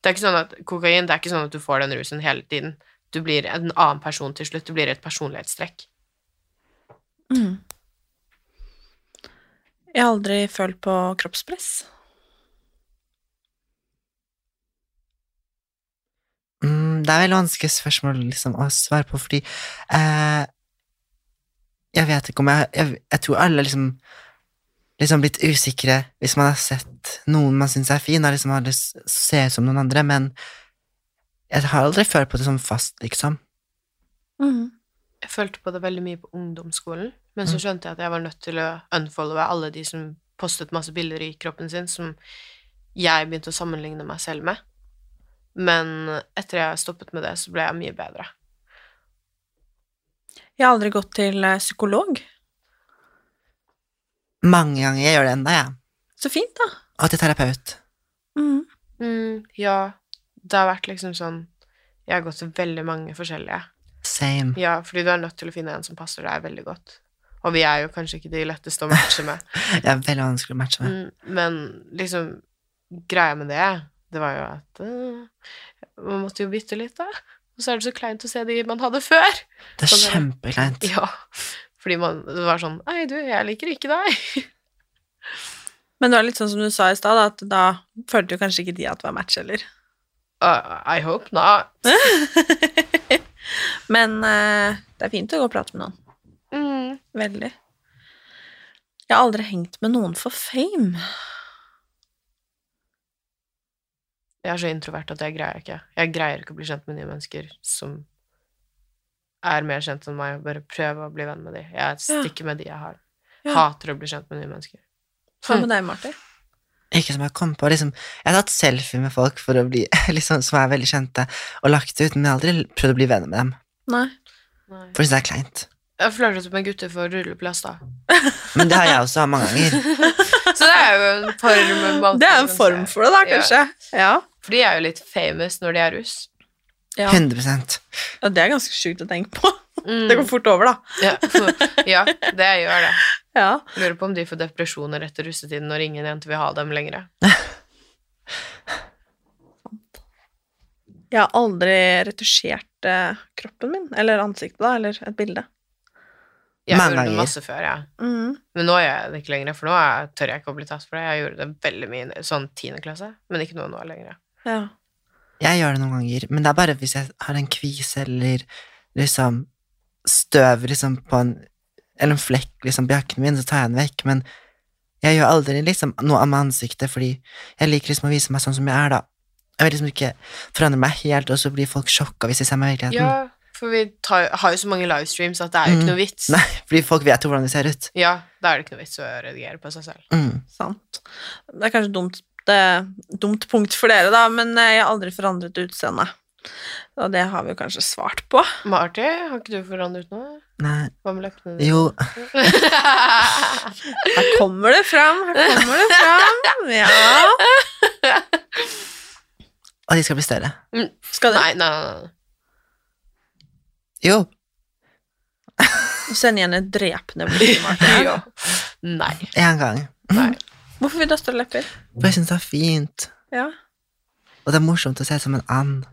Det er ikke sånn at kokain, det er ikke sånn at du får den rusen hele tiden. Du blir en annen person til slutt. Du blir et personlighetstrekk. Mm. Jeg har aldri følt på kroppspress. Mm, det er veldig vanskelig spørsmål liksom, å svare på, fordi eh, Jeg vet ikke om jeg Jeg, jeg tror alle liksom liksom blitt usikre hvis man har sett noen man syns er fin, og liksom har lyst til å se ut som noen andre, men jeg har aldri følt på det sånn fast, liksom. Jeg følte på det veldig mye på ungdomsskolen, men så Mm. skjønte jeg at jeg var nødt til å unfollowe alle de som postet masse bilder i kroppen sin, som jeg begynte å sammenligne meg selv med. Men etter jeg stoppet med det, så ble jeg mye bedre. Jeg har aldri gått til eh, psykolog. Mange ganger. Jeg gjør det ennå, jeg. Så fint, da. Og til terapeut. Mm, ja, det har vært liksom sånn Jeg har gått til veldig mange forskjellige. Same. Ja, fordi du er nødt til å finne en som passer deg veldig godt. Og vi er jo kanskje ikke de letteste å matche med. Jeg er veldig vanskelig å matche med. Mm, Men liksom, greia med det, det var jo at eh, man måtte jo bytte litt, da. Og så er det så kleint å se de man hadde før. Det er Sånn der- kjempekleint. Ja, fordi man det var sånn Nei, du, jeg liker ikke deg. Men det var litt sånn som du sa i stad, da, at da følte jo kanskje ikke de at det var match heller. Uh, I hope not. Men eh, det er fint å gå og prate med noen. Mm. Veldig. Jeg har aldri hengt med noen for fame. Jeg er så introvert at jeg greier ikke. Jeg greier ikke å bli kjent med nye mennesker som er mer kjent enn meg, og bare prøve å bli venn med de. Jeg stikker med de jeg har. Ja. Hater å bli kjent med nye mennesker. Hva med deg, Marti? Ikke som jeg kom på. Liksom, jeg har tatt selfie med folk for å bli, liksom, som er veldig kjente, og lagt det ut, men jeg har aldri prøvd å bli venner med dem. Nei. For jeg synes det er kleint. Jeg flørtet med gutter for rulleplass, da. Men det har jeg også hatt mange ganger. Så det er jo en form av Det er en form for det, da, kanskje. Ja. For de er jo litt famous når de er russ. Ja. 100 Ja, det er ganske sjukt å tenke på. Det går fort over, da. Mm. Ja, ja det gjør det. Ja. Lurer på om de får depresjoner etter russetiden når ingen jenter vil ha dem lenger. Jeg har aldri retusjert eh, kroppen min, eller ansiktet, da, eller et bilde. Jeg Mange gjorde ganger. det masse før, ja. Mm. Men nå gjør jeg det ikke lenger, for nå er- tør jeg ikke å bli tatt for det. Jeg gjorde det veldig mye i sånn tiende klasse, men ikke noe nå lenger. Ja. Jeg gjør det noen ganger, men det er bare hvis jeg har en kvise eller liksom støv liksom, på en Eller en flekk liksom, på jakken min, så tar jeg den vekk. Men jeg gjør aldri liksom, noe av med ansiktet, fordi jeg liker liksom, å vise meg sånn som jeg er, da. Jeg vil liksom ikke forandre meg helt, og så blir folk sjokka hvis de ser meg i virkeligheten. Ja, for vi tar, har jo så mange livestreams at det er jo ikke Mm. noe vits. Nei, fordi folk vet jo hvordan de ser ut. Ja, da er det ikke noe vits å redigere på seg selv. Mm. Sant. Det er kanskje dumt, det, dumt punkt for dere, da, men eh, jeg har aldri forandret utseende. Og det har vi jo kanskje svart på. Marty, har ikke du forandret noe? Nei. Hva med leppene dine? Jo, Her kommer det fram, her kommer det fram. Ja. og de skal bli større. Skal du? Mm. Nei, nei, nei. nei. Jo. Send igjen et drepende blikk, Marte. Ja. Nei. En gang. Hvorfor vil du ha større lepper? For jeg syns det er fint, Ja. og det er morsomt å se ut som en and.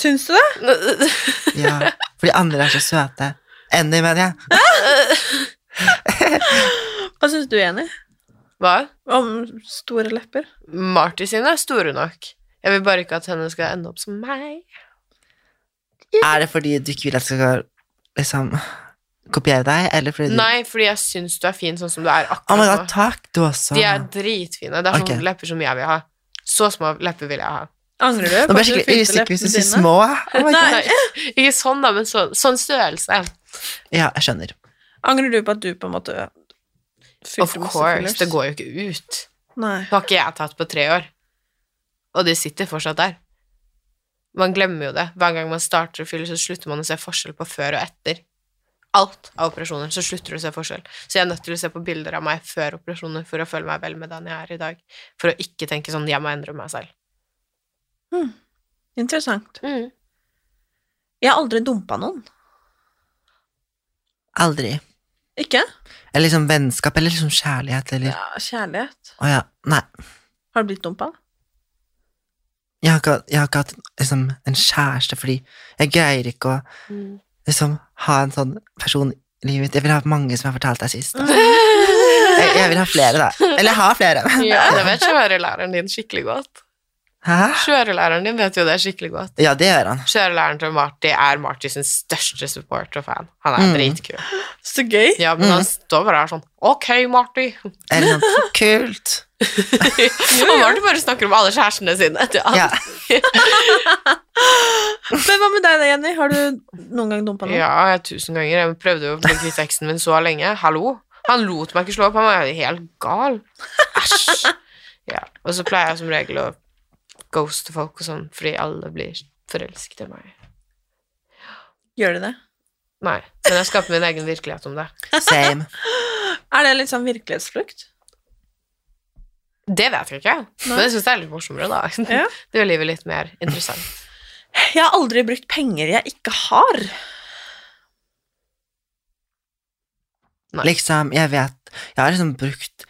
Syns du det? Ja, fordi andre er så søte. Andy, mener jeg. Hva syns du, Jenny, Hva? om store lepper? Marty sine er store nok. Jeg vil bare ikke at henne skal ende opp som meg. Er det fordi du ikke vil at jeg skal liksom kopiere deg, eller fordi du Nei, fordi jeg syns du er fin sånn som du er Oh akkurat my god, nå. takk, du også. De er dritfine. Det er Ok. sånne lepper som jeg vil ha. Så små lepper vil jeg ha. Angrer du? Nå på ble at du jeg skikkelig flyttet usikker hvis du leppene sier dine? små. Oh my god. Nei, ikke sånn, da, men så, sånn størrelse. Ja, jeg skjønner. Angrer du på at du på en måte fylte Of masse course. fillers? Det går jo ikke ut. Nei. Det har ikke jeg tatt på tre år. Og de sitter fortsatt der. Man glemmer jo det. Hver gang man starter å fylle, så slutter man å se forskjell på før og etter. alt av operasjoner, så slutter du å se forskjell. Så jeg er nødt til å se på bilder av meg før operasjoner for å føle meg vel med den jeg er i dag. For å ikke tenke sånn 'jeg må endre meg selv'. Hmm. Interessant. Mm. Jeg har aldri dumpa noen. Aldri. Ikke? Eller liksom vennskap, eller liksom kjærlighet, eller Ja, kjærlighet. Å ja. Nei. Har du blitt dumpa? Jeg har ikke, jeg har ikke hatt liksom, en kjæreste fordi jeg greier ikke å Mm. liksom, ha en sånn person i livet mitt. Jeg vil ha mange som jeg har fortalt deg sist. Da. Jeg, jeg vil ha flere, da. Eller jeg har flere. Ja, det vet kjørelæreren din skikkelig godt. Hæ? Kjørelæreren din vet jo det skikkelig godt. Ja, det gjør han. Kjørelæreren til Marty er Marty sin største support og fan. Han er Mm. dritkul. Så gøy. Ja, men han står bare her sånn Ok, Marty. Eller sånn Kult. Og Marty bare snakker om alle kjærestene sine. Til alt. Men hva med deg da, Jenny? Har du noen gang dumpa noen? Ja, jeg- tusen ganger. Jeg prøvde jo å bli kvitt eksen min så lenge. Hallo? Han lot meg ikke slå opp. Han var helt gal. Æsj. Ja. Og så pleier jeg som regel å ghoste folk og sånn, fordi alle blir forelsket i meg. Gjør de det? Nei, men jeg skaper min egen virkelighet om det. Same. Er det litt sånn virkelighetsflukt? Det vet jeg ikke, Nei. men jeg syns det er litt morsommere, da. Ja. Det gjør livet litt mer interessant. Jeg har aldri brukt penger jeg ikke har. Liksom, jeg vet Jeg har liksom brukt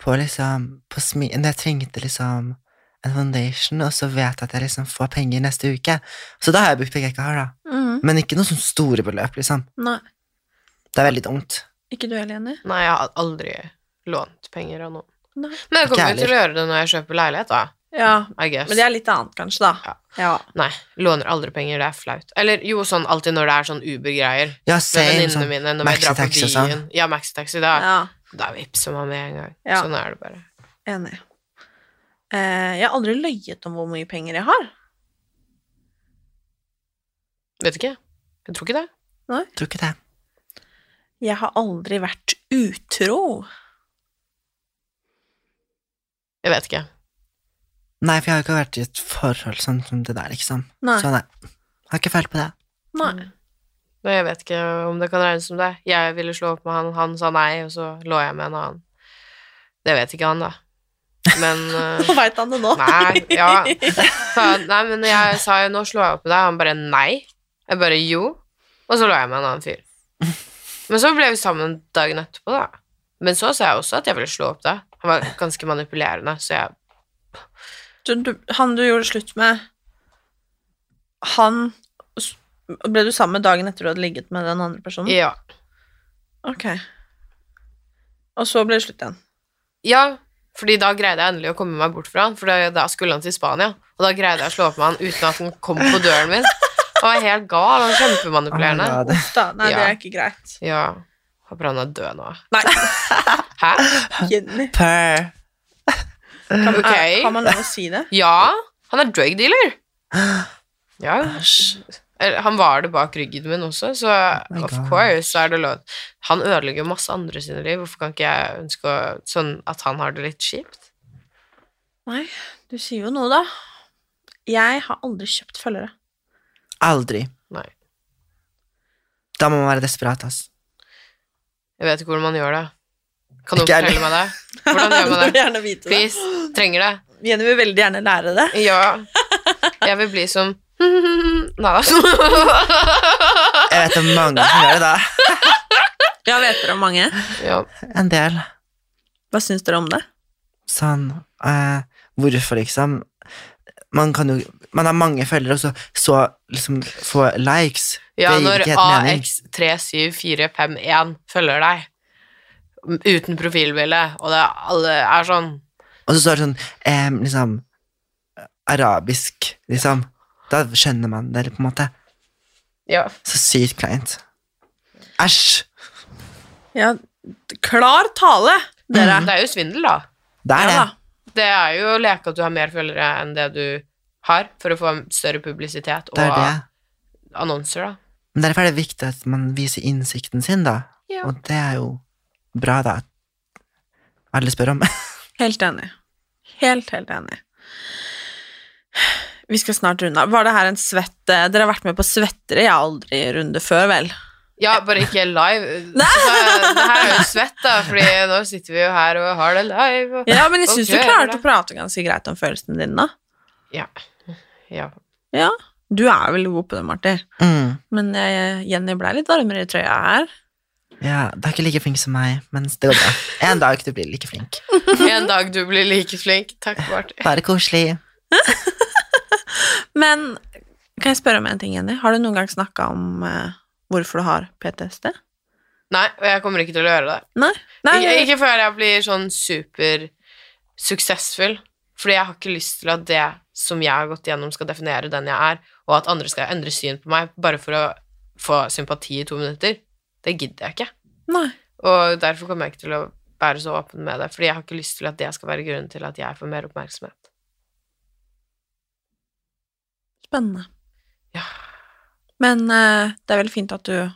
på liksom på smi, Når jeg trengte liksom en foundation, og så vet jeg at jeg liksom får penger neste uke. Så da har jeg brukt penger jeg ikke har, da. Mm. Mhm. Men ikke noe sånn store beløp, liksom. Nei. Det er veldig dumt. Ikke du heller, Jenny? Nei, jeg har aldri lånt penger av noen. Nei. Men jeg kommer Ikke jo til å gjøre det når jeg kjøper leilighet, da. Ja, I guess. men det er litt annet kanskje, da. Ja. Nei, låner aldri penger, det er flaut. Eller jo, sånn alltid når det er sånn Uber-greier. Ja, Med same, venninnene sånn mine når vi drar på maxitaxi og sånn. byen. Ja, maxitaxi. Da, Ja. da vippser man med en gang. Ja. Sånn er det bare. Enig. Eh, jeg har aldri løyet om hvor mye penger jeg har. Vet ikke. Jeg tror ikke det. Nei. Tror ikke det. Jeg har aldri vært utro. Jeg vet ikke. Nei, for jeg har ikke vært i et forhold sånn som det der, liksom. Nei. Så nei. Jeg har ikke følt på det. Nei. Nei, Mm. jeg vet ikke om det kan regnes som det. Jeg ville slå opp med han, han sa nei, og så lå jeg med en annen. Det vet ikke han, da. Men eh, Nå veit han det nå. Nei, ja. Sa, nei, men jeg sa jo 'nå slår jeg opp med deg', han bare 'nei'. Jeg bare 'jo', og så lå jeg med en annen fyr. Men så ble vi sammen dagen etterpå, da. Men så sa jeg også at jeg ville slå opp deg. Han var ganske manipulerende, så jeg Du, du, han du gjorde slutt med, han s- Ble du sammen med dagen etter du hadde ligget med den andre personen? Ja. Ok. Og så ble det slutt igjen. Ja, fordi da greide jeg endelig å komme meg bort fra han, for da, da skulle han til Spania. Og da greide jeg å slå opp med han uten at han kom på døren min. Han var helt gal, han var kjempemanipulerende. Å, my God. Uff da, nei, det Ja. er ikke greit. Ja. Håper han er død nå. Nei. Hæ? Jenny. Per. Kan, Ok. er, kan man lov å si det? Ja, han er drug dealer. Ja. Eller, Han var det bak ryggen min også, så Oh my of God. course så er det lov. Han ødelegger jo masse andre sine liv. Hvorfor kan ikke jeg ønske å- sånn at han har det litt kjipt? Nei, du sier jo noe, da. Jeg har aldri kjøpt følgere. Aldri. Nei. Da må man være desperat, ass. Jeg vet ikke hvordan man gjør det. Kan noen Ikke jeg fortelle meg det? Hvordan gjør Jeg man vil det? gjerne vite det. Please. Trenger det. Jenny vil veldig gjerne lære det. Ja. Jeg vil bli som Nei altså. da. Jeg vet det er mange som gjør det, da. Jeg vet dere om mange. Ja. En del. Hva syns dere om det? Sånn eh, Hvorfor, liksom? Man kan jo Man har mange følgere, og så, så liksom få likes. Ja, det gir når ikke helt mening. AX37451 følger deg m- uten profilbilde, og det er- alle er sånn Og så står det sånn em, liksom Arabisk, liksom. Da skjønner man det, på en måte. Ja. Så sykt kleint. Æsj! Ja, klar tale, dere. Det er jo svindel, da. Det er det. Det er jo å leke at du har mer følgere enn det du har, for å få større publisitet og Det er det. annonser, da. Men derfor er det viktig at man viser innsikten sin, da. Ja. Og det er jo bra, da. at Alle spør om. Helt enig. Helt, helt enig. Vi skal snart runde av. Var det her en svett eh, Dere har vært med på svettere. Jeg har aldri runde før, vel? Ja, bare ikke live. Altså, det her er jo svett, da, Fordi nå sitter vi jo her og har det live. Og, Ja, men jeg og syns du prøver klarte det. å prate ganske greit om følelsene dine, da. Ja. ja. Ja, du er veldig god på det, Marti. Mm. Men eh, Jenny ble litt varmere i trøya her. Ja, du er ikke like flink som meg, men det går bra. En dag du blir like flink. En dag du blir like flink. Takk, Martin. Bare koselig. Men kan jeg spørre om en ting, Jenny? Har du noen gang snakka om eh, hvorfor du har PTSD? Nei, og jeg kommer ikke til å gjøre det. Nei. Nei, ikke, ikke før jeg blir sånn super suksessfull. Fordi jeg har ikke lyst til at det som jeg har gått gjennom, skal definere den jeg er, og at andre skal endre syn på meg bare for å få sympati i to minutter. Det gidder jeg ikke. Nei. Og derfor kommer jeg ikke til å være så åpen med det, fordi jeg har ikke lyst til at det skal være grunnen til at jeg får mer oppmerksomhet. Spennende. Men eh, det er veldig fint at du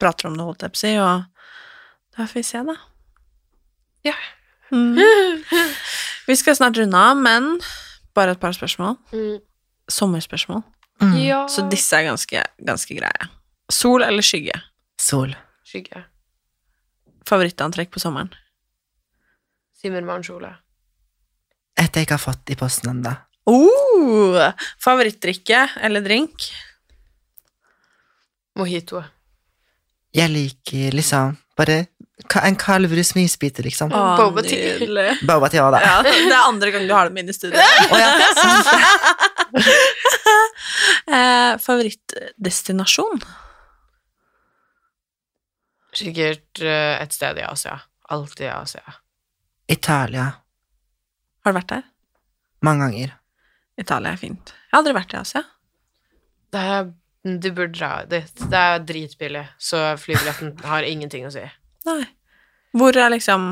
prater om det, holdt jeg på å si, og da får vi se, da. Ja. Mm. Vi skal snart runde av, men bare et par spørsmål. Sommerspørsmål. Mm. Mm. Ja. Så disse er ganske, ganske greie. Sol eller skygge? Sol. Skygge. Favorittantrekk på sommeren? Simmermannskjole. Et jeg ikke har fått i posten ennå. Oh, favorittdrikke eller drink? Mojito. Jeg liker liksom bare ka- en kald brus med isbiter, liksom. Å, Boba tea. nydelig. Boba tea, da. Ja, det er andre gang du har dem inne i studio. eh, favorittdestinasjon? Sikkert eh, et sted i Asia. Alltid i Asia. Italia. Har du vært der? Mange ganger. Italia er fint. Jeg har aldri vært i Asia. Det er, du burde dra dit. Det er dritbillig, så flybilletten har ingenting å si. Nei. Hvor er liksom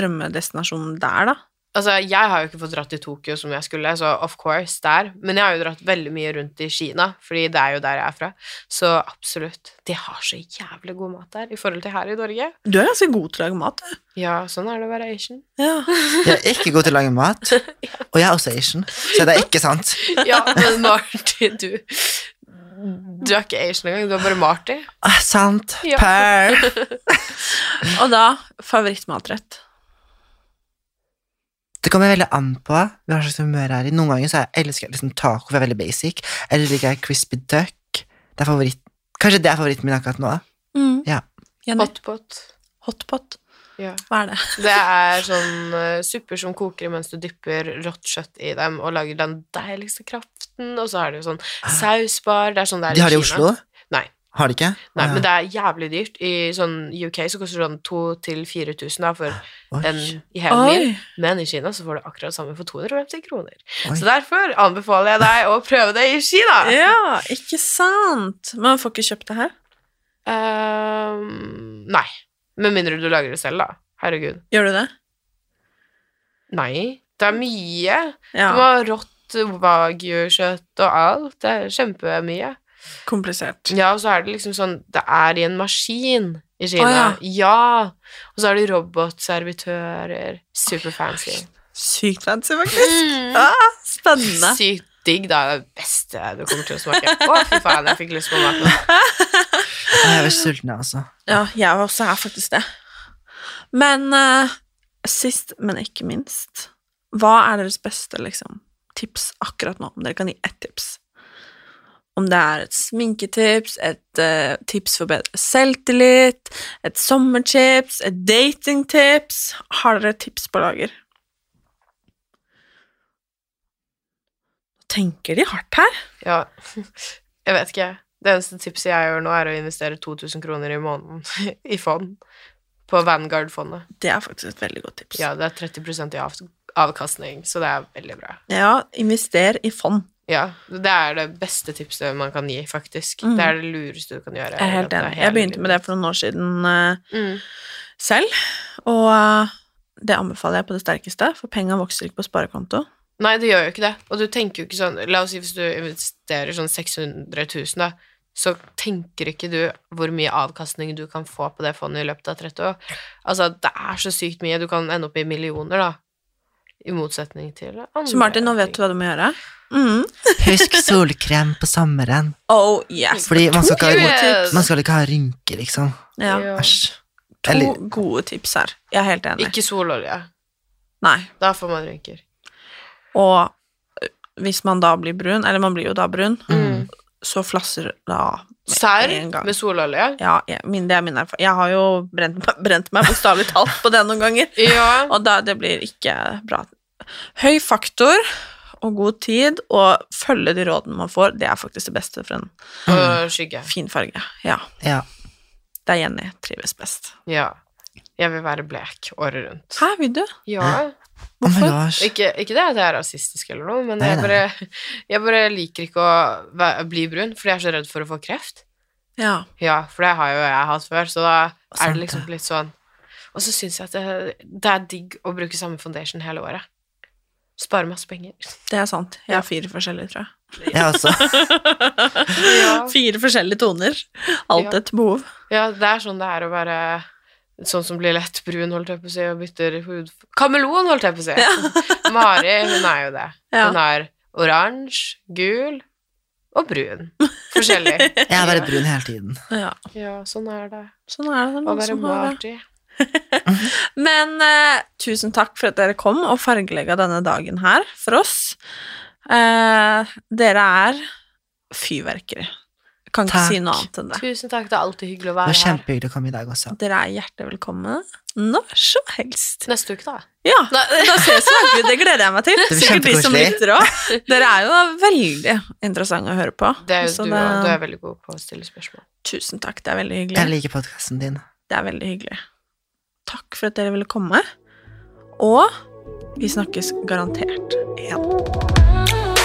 drømmedestinasjonen der, da? Altså, jeg har jo ikke fått dratt til Tokyo som jeg skulle, så of course der. Men jeg har jo dratt veldig mye rundt i Kina, fordi det er jo der jeg er fra. Så absolutt. De har så jævlig god mat der i forhold til her i Norge. Du er ganske god til å lage mat, du. Ja, sånn er det å være Asian. Ja. Jeg er ikke god til å lage mat. Og jeg er også Asian, så det er ikke sant. ja, men Marty, du Du er ikke Asian engang, du er bare Marty. Ah, sant. Ja. Per. Og da favorittmatrett. Det kommer veldig an på hva slags humør jeg er i. Noen ganger så jeg elsker jeg liksom taco, for jeg er veldig basic. Eller liker jeg crispy duck. Det er favoritt. Kanskje det er favoritten min akkurat nå. Mm. Ja. Hotpot. Hotpot? Ja. Hva er det? Det er sånn eh, supper som koker mens du dypper rått kjøtt i dem og lager den deiligste kraften, og så har de jo sånn sausbar Det er sånn det er De har det i Kina. Oslo? Nei. Har de ikke? Nei, Ah, ja. men det er jævlig dyrt. I sånn UK så koster det sånn 2000-4000 da, for en i hele Oi. mil. Men i Kina så får du akkurat samme for 250 kroner. Så derfor anbefaler jeg deg å prøve det i Kina. Ja, ikke sant? Men man får ikke kjøpt det her. Ehm, nei. Med mindre du lager det selv, da. Herregud. Gjør du det? Nei. Det er mye. Ja. Du må ha rått wagyu-kjøtt og alt. Det er kjempemye. Komplisert. Ja, og så er det liksom sånn Det er i en maskin i Kina. Å, ja. ja. Og så er det robotservitører. Superfancy. Mm. Sykt fancy, faktisk. Ah, spennende. Sykt digg, da. Det er det beste du kommer til å smake. Å, fy faen, jeg fikk lyst på mat nå. Ah, Jeg er veldig sulten, jeg også. Ja, jeg også er faktisk det. Men eh, sist, men ikke minst, hva er deres beste liksom, tips akkurat nå? Om dere kan gi ett tips. Om det er et sminketips, et eh, tips for bedre selvtillit, et sommertips, et datingtips Har dere tips på lager? Tenker de hardt her? Ja, jeg vet ikke. Det eneste tipset jeg gjør nå, er å investere 2000 kroner i måneden i fond. På Vanguard-fondet. Det er faktisk et veldig godt tips. Ja, det er 30 i av avkastning, så det er veldig bra. Ja, invester i fond. Ja, det er det beste tipset man kan gi, faktisk. Mm. Det er det lureste du kan gjøre. Jeg er helt enig. Jeg begynte med det for noen år siden eh, Mm. selv, og eh, det anbefaler jeg på det sterkeste, for penga vokser ikke på sparekonto. Nei, det gjør jo ikke det. Og du tenker jo ikke sånn La oss si hvis du investerer sånn 600 000, da, så tenker ikke du hvor mye avkastning du kan få på det fondet i løpet av 30 år. Altså, det er så sykt mye. Du kan ende opp i millioner, da. I motsetning til andre. Så Martin, nå vet du hva du må gjøre. Husk solkrem på sommeren. Oh yes. Fordi man skal, To ikke gode ha, tips. man skal ikke ha rynker, liksom. Ja. Æsj. To Eller- gode tips her. Jeg er helt enig. Ikke sololje. Nei. Da får man rynker. Og ø, hvis man da blir brun, eller man blir jo da brun, så flasser det av. Serr med sololje? Ja, jeg, min, det er min erfaring. Jeg har jo brent, meg- brent meg bokstavelig talt på det noen ganger. Og da, det blir ikke bra. Høy faktor og god tid, og følge de rådene man får, det er faktisk det beste for en Og skygge. fin farge. Ja. Mm. Ja. Der Jenny trives best. Ja. Jeg vil være blek året rundt. Hæ, vil du? Ja. Oh my gosh. Ikke, ikke det at jeg er rasistisk eller noe, men Nei, jeg nei. bare, jeg bare liker ikke å væ- bli brun, fordi jeg er så redd for å få kreft. Ja. Ja, for det har jo jeg hatt før, så da er Sant det liksom litt sånn Og så syns jeg at det, det er digg å bruke samme foundation hele året. Spare masse penger. Det er sant. Jeg har fire forskjellige, tror jeg. Jeg også. Fire forskjellige toner. Alt Ja. et behov. Ja, det er sånn det er å være sånn som blir lett brun, holdt jeg på å si, og bytter hud Kameleon, holdt jeg på å si! Mari, hun er jo det. Ja. Hun er oransje, gul og brun. Forskjellig. Jeg er bare brun hele tiden. Ja. sånn er det. Sånn er det. det er Å noen være som har det. Marty. Men eh, tusen takk for at dere kom og fargelegga denne dagen her for oss. Eh, dere er fyrverkeri. Kan ikke Takk. si noe annet enn det. Tusen takk, det er alltid hyggelig å Det være var her. kjempehyggelig å komme i dag også. Dere er hjertelig velkomne når som helst. Neste uke, da. Ja, da, da ses vi. Det gleder jeg meg til. Det blir Sikkert de som kjempekoselig. lytter òg. Dere er jo veldig interessante å høre på. Det er Så jo du, og du er veldig god på å stille spørsmål. Tusen takk, det er veldig hyggelig. Jeg liker podkasten din. Det er veldig hyggelig. Takk for at dere ville komme. Og vi snakkes garantert igjen.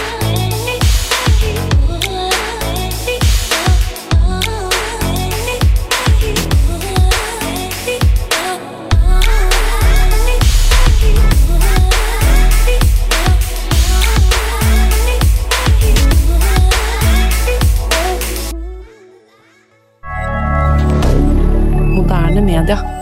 Moderne media.